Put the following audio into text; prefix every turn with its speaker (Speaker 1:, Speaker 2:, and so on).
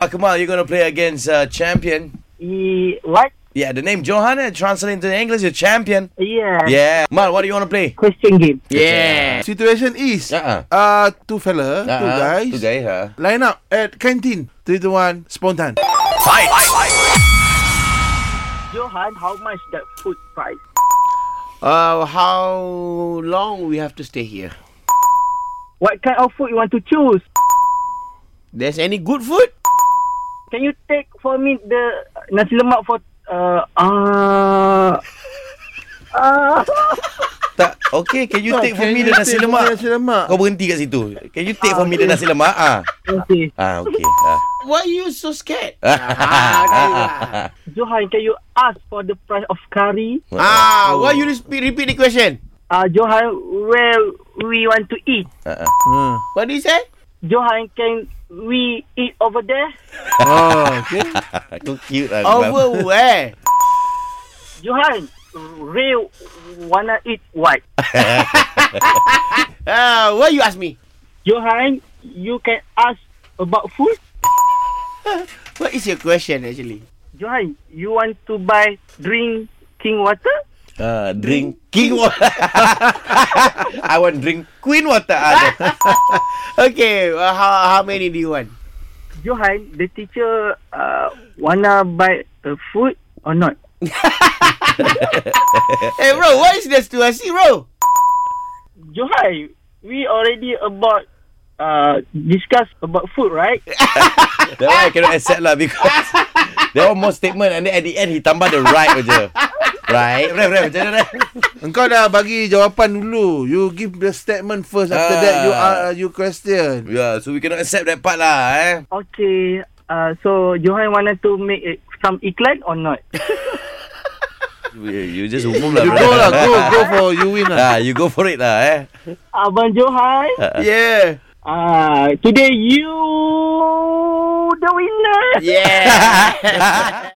Speaker 1: Uh, Kamal, you're going to play against uh, champion.
Speaker 2: E- what?
Speaker 1: Yeah, the name Johanna translated into English is champion.
Speaker 2: Yeah.
Speaker 1: Yeah. Mal, what do you want to play?
Speaker 2: Question game.
Speaker 1: Yeah.
Speaker 3: Situation is
Speaker 1: Uh-uh.
Speaker 3: uh two fella, two
Speaker 1: Uh-uh.
Speaker 3: guys.
Speaker 1: Two guys, huh?
Speaker 3: Line up at canteen. Three to one, spontan.
Speaker 2: Johan, how much that food price?
Speaker 4: Uh, how long we have to stay here?
Speaker 2: What kind of food you want to choose?
Speaker 4: There's any good food?
Speaker 2: Can you take for me the nasi lemak for uh uh, uh
Speaker 1: Tak. Okay, can you take for
Speaker 3: Can
Speaker 1: me the
Speaker 3: you
Speaker 1: nasi
Speaker 3: take for me
Speaker 1: lemak? Oh.
Speaker 3: Nasi lemak.
Speaker 1: Kau berhenti kat situ. Can you take for me the nasi lemak? Ah.
Speaker 2: okay.
Speaker 1: Ah, okay. Ah.
Speaker 4: Why you so scared? Ah, lah.
Speaker 2: Johan, can you ask for the price of curry?
Speaker 4: ah, why you repeat, repeat the question?
Speaker 2: Uh Johan, where we want to eat?
Speaker 3: Ah.
Speaker 4: What do you say?
Speaker 2: Johan, can we eat over there?
Speaker 3: Oh, okay.
Speaker 1: Kau cute lah. Kamal.
Speaker 4: Over where?
Speaker 2: Johan, real wanna eat what?
Speaker 4: Uh, why you ask me?
Speaker 2: Johan, you can ask about food.
Speaker 4: What is your question actually?
Speaker 2: Johan, you want to buy drinking water?
Speaker 1: Ah, drink king water. I want drink queen water. Ah, there.
Speaker 4: Okay, uh, how, how many do you want?
Speaker 2: Johan, the teacher uh, wanna buy the food or not?
Speaker 4: Hey bro, what is this to see bro?
Speaker 2: Johan, we already about uh, discuss about food, right?
Speaker 1: that one I cannot accept lah because that one more statement and then at the end he tambah the right je. Right, right, right. Macam mana? Ref?
Speaker 3: Engkau dah bagi jawapan dulu. You give the statement first. After
Speaker 1: Ah.
Speaker 3: that, you uh, you question.
Speaker 1: Yeah, so we cannot accept that part lah. Eh.
Speaker 2: Okay, uh, so Johan wanted to make it some iklan or not?
Speaker 1: You just umum lah.
Speaker 3: You
Speaker 1: brother.
Speaker 3: go lah, go, go for you win lah.
Speaker 1: Ah, you go for it lah. Eh.
Speaker 2: Abang Johan,
Speaker 1: Ya.
Speaker 4: Yeah.
Speaker 2: uh, today you the winner.
Speaker 4: Yeah.